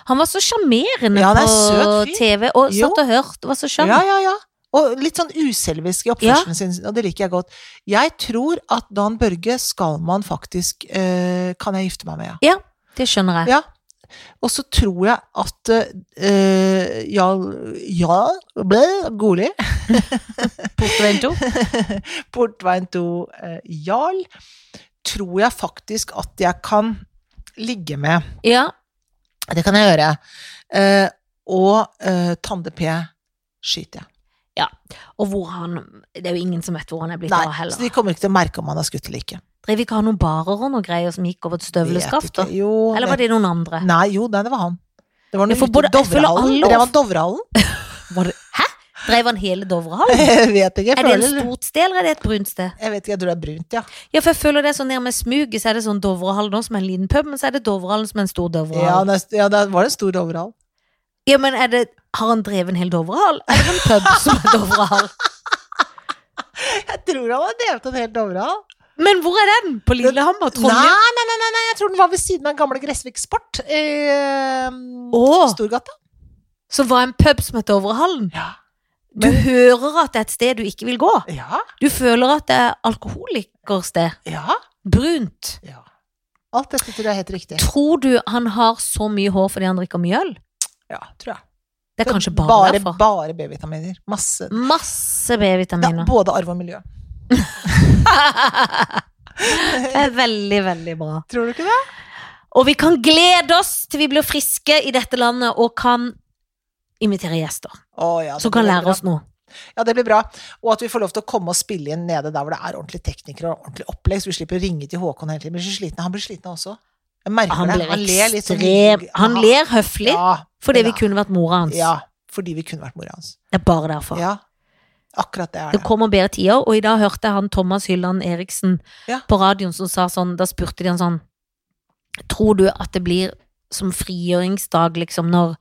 Speaker 1: han var så sjarmerende
Speaker 2: Ja, han er
Speaker 1: på
Speaker 2: søt fyr.
Speaker 1: TV, og
Speaker 2: Jo.
Speaker 1: satt og hørte, var så sjarm.
Speaker 2: Ja, ja, ja. Og litt sånn uselvisk i oppførselen sin, og det liker jeg godt. Jeg tror at Dan Børge skal man faktisk eh, Kan jeg gifte meg med, ja.
Speaker 1: Det skjønner jeg.
Speaker 2: Ja. Og så tror jeg at eh, Jarl Jarl ble Goli
Speaker 1: Portveien to.
Speaker 2: Portveien to eh, Jarl tror jeg faktisk at jeg kan ligge med.
Speaker 1: Ja.
Speaker 2: Det kan jeg gjøre. Eh, og eh, Tande P skyter jeg.
Speaker 1: Og hvor han Det er jo ingen som vet hvor han er blitt
Speaker 2: Nei,
Speaker 1: av
Speaker 2: så
Speaker 1: heller.
Speaker 2: de kommer ikke til å merke om han har skutt eller ikke.
Speaker 1: Drev ikke han noen barer og noen greier som gikk over et
Speaker 2: Vet
Speaker 1: støvleskaft?
Speaker 2: ikke.
Speaker 1: da?
Speaker 2: Jo,
Speaker 1: Eller var det
Speaker 2: vet-
Speaker 1: noen andre?
Speaker 2: Nei, jo, nei, det var han. Det var
Speaker 1: Ja,
Speaker 2: noe
Speaker 1: for
Speaker 2: ute i
Speaker 1: både- jeg føler
Speaker 2: Dovrehallen.
Speaker 1: alle-
Speaker 2: Drev han Dovrehallen?
Speaker 1: Var det, hæ? Drev han hele Dovrehallen?
Speaker 2: jeg vet ikke. Jeg,
Speaker 1: Er det
Speaker 2: føler,
Speaker 1: et stort sted, eller er det et brunt sted?
Speaker 2: jeg vet ikke, jeg tror det er brunt, ja.
Speaker 1: Ja, for jeg føler det er sånn nærmest smuget, så er det sånn Dovrehallen også, som er en liten pub, men så er det Dovrehallen som er en stor
Speaker 2: Ja,
Speaker 1: Dovrehallen.
Speaker 2: det, er- ja, da var det en stor Dovrehallen.
Speaker 1: Ja, men er det Har han drevet en hel Dovrehallen? Eller en pub som er Dovrehallen?
Speaker 2: Jeg tror han har drevet en hel Dovrehallen.
Speaker 1: Men hvor er den? På Lillehammer?
Speaker 2: Nei,
Speaker 1: Trondheim?
Speaker 2: nei, nei, nei, nei, jeg tror den var ved siden av gamle Gressvik Sport. Eh,
Speaker 1: Åh.
Speaker 2: Storgata.
Speaker 1: Som var en pub som het Dovrehallen?
Speaker 2: Ja.
Speaker 1: Du
Speaker 2: Men-
Speaker 1: hører at det er et sted du ikke vil gå.
Speaker 2: Ja,
Speaker 1: Du føler at det er alkoholikersted.
Speaker 2: ja.
Speaker 1: Brunt.
Speaker 2: ja. Alt dette tror jeg er helt riktig.
Speaker 1: Tror du han har så mye hår fordi han drikker mye øl?
Speaker 2: Ja, tror jeg.
Speaker 1: Det er kanskje bare,
Speaker 2: bare,
Speaker 1: derfor.
Speaker 2: bare B-vitaminer. Masse.
Speaker 1: Masse
Speaker 2: Da,
Speaker 1: B-vitaminer.
Speaker 2: både arv og miljø.
Speaker 1: Det er veldig, veldig bra.
Speaker 2: Tror du ikke det?
Speaker 1: Og vi kan glede oss til vi blir friske i dette landet og kan invitere gjester
Speaker 2: Å, ja, det
Speaker 1: som kan
Speaker 2: blir
Speaker 1: lære
Speaker 2: bra.
Speaker 1: oss noe.
Speaker 2: Ja, det blir bra. Og at vi får lov til å komme og spille inn nede der hvor det er ordentlige teknikere og ordentlig opplegg, så vi slipper å ringe til Håkon hele tiden. Blir så sliten. Han blir sliten også. Jeg merker
Speaker 1: Han
Speaker 2: det.
Speaker 1: blir
Speaker 2: ler litt sånn-
Speaker 1: ekstrem Han ler høflig
Speaker 2: Ja,
Speaker 1: fordi vi
Speaker 2: ja.
Speaker 1: kunne vært mora hans.
Speaker 2: ja. Fordi vi kunne vært mora hans.
Speaker 1: Det er bare derfor.
Speaker 2: Ja. Akkurat det er
Speaker 1: Det
Speaker 2: det.
Speaker 1: kommer bedre tider, og i dag hørte jeg han Thomas Hylland Eriksen
Speaker 2: Ja.
Speaker 1: på radioen som sa sånn, da spurte de han sånn, tror du at det blir som frigjøringsdag liksom når,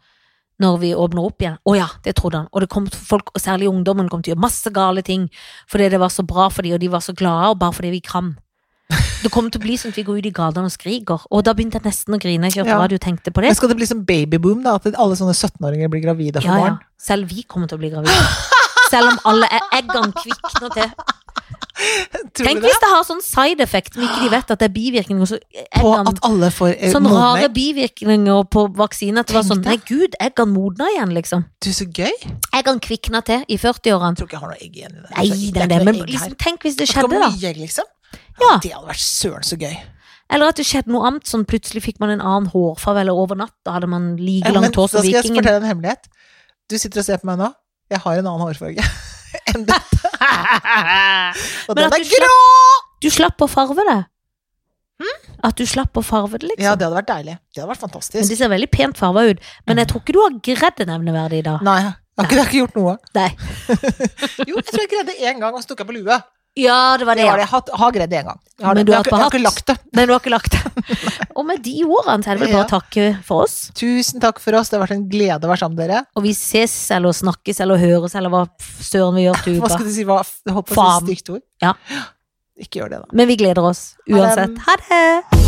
Speaker 1: når vi åpner opp igjen? Å ja, det trodde han, og det kom folk, og særlig ungdommen kom til å gjøre masse gale ting, fordi det var så bra for de, og de var så glade, og bare fordi vi kan. Det kom til å bli sånn at vi går ut i gatene og skriker, og da begynte jeg nesten å grine, jeg kjørte
Speaker 2: Ja.
Speaker 1: radio og tenkte på det.
Speaker 2: Men skal det bli sånn babyboom, da? At alle sånne 17-åringer blir gravide for
Speaker 1: Ja, ja.
Speaker 2: barn?
Speaker 1: Selv vi kommer til å bli gravide. Selv om alle e- eggene kvikner til.
Speaker 2: Tror
Speaker 1: Tenk
Speaker 2: du det?
Speaker 1: hvis det har sånn side effect som ikke de vet at det er bivirkninger. Så
Speaker 2: På
Speaker 1: eggene,
Speaker 2: at alle får eh,
Speaker 1: sånn rare
Speaker 2: modning.
Speaker 1: bivirkninger på vaksine. At det var
Speaker 2: Tenk
Speaker 1: sånn Nei, gud, eggene modna igjen, liksom.
Speaker 2: Du, så gøy! Jeg
Speaker 1: Eggene kvikna til i 40-årene.
Speaker 2: tror ikke jeg har noe egg igjen i det.
Speaker 1: Nei,
Speaker 2: Så
Speaker 1: det er det,
Speaker 2: ikke noe
Speaker 1: men
Speaker 2: egg her.
Speaker 1: liksom, tenk hvis det
Speaker 2: At det
Speaker 1: skjedde,
Speaker 2: kommer
Speaker 1: da.
Speaker 2: mye egg, liksom?
Speaker 1: Ja.
Speaker 2: Det hadde vært søren så gøy.
Speaker 1: Eller at det skjedde noe annet, sånn plutselig fikk man en annen hårfarvel og over natt. Da hadde man like
Speaker 2: Ja, men
Speaker 1: langt
Speaker 2: da
Speaker 1: hår som
Speaker 2: skal jeg
Speaker 1: vikingen.
Speaker 2: fortelle en hemmelighet. Du sitter og ser på meg nå. Jeg har en annen hårfarge. enn dette. Og
Speaker 1: Men
Speaker 2: den
Speaker 1: at
Speaker 2: er
Speaker 1: du
Speaker 2: grå!
Speaker 1: Du slapp å farve det. At du slapp å farve det,
Speaker 2: Hm? Ja,
Speaker 1: liksom.
Speaker 2: det hadde vært deilig. Det hadde vært
Speaker 1: Men
Speaker 2: fantastisk.
Speaker 1: de ser veldig pent farva ut. Men jeg tror ikke du har greid det nevneverdig i dag.
Speaker 2: Nei, jeg har ikke, jeg har ikke gjort noe.
Speaker 1: Nei.
Speaker 2: Jo, jeg tror jeg greide én gang, og så tok jeg på lue.
Speaker 1: Ja, det var det,
Speaker 2: Det
Speaker 1: ja.
Speaker 2: var det. Jeg har, har greid det én gang. Jeg har,
Speaker 1: Men
Speaker 2: det.
Speaker 1: du
Speaker 2: jeg
Speaker 1: har
Speaker 2: har, ikke- jeg har
Speaker 1: ikke
Speaker 2: ikke lagt det.
Speaker 1: Nei, du har ikke lagt det. Og med de ordene så er det vel bare å takke for oss.
Speaker 2: Tusen takk for oss. Det har vært en glede å være sammen med dere.
Speaker 1: Og vi ses eller snakkes eller høres eller hva søren vi gjør til
Speaker 2: Hva
Speaker 1: uka.
Speaker 2: skal du si? Hva, jeg holdt på å si
Speaker 1: Faen.
Speaker 2: et stygt ord.
Speaker 1: Ja.
Speaker 2: Ikke gjør det, da.
Speaker 1: Men vi gleder oss
Speaker 2: Ha det.
Speaker 1: uansett. Ha det!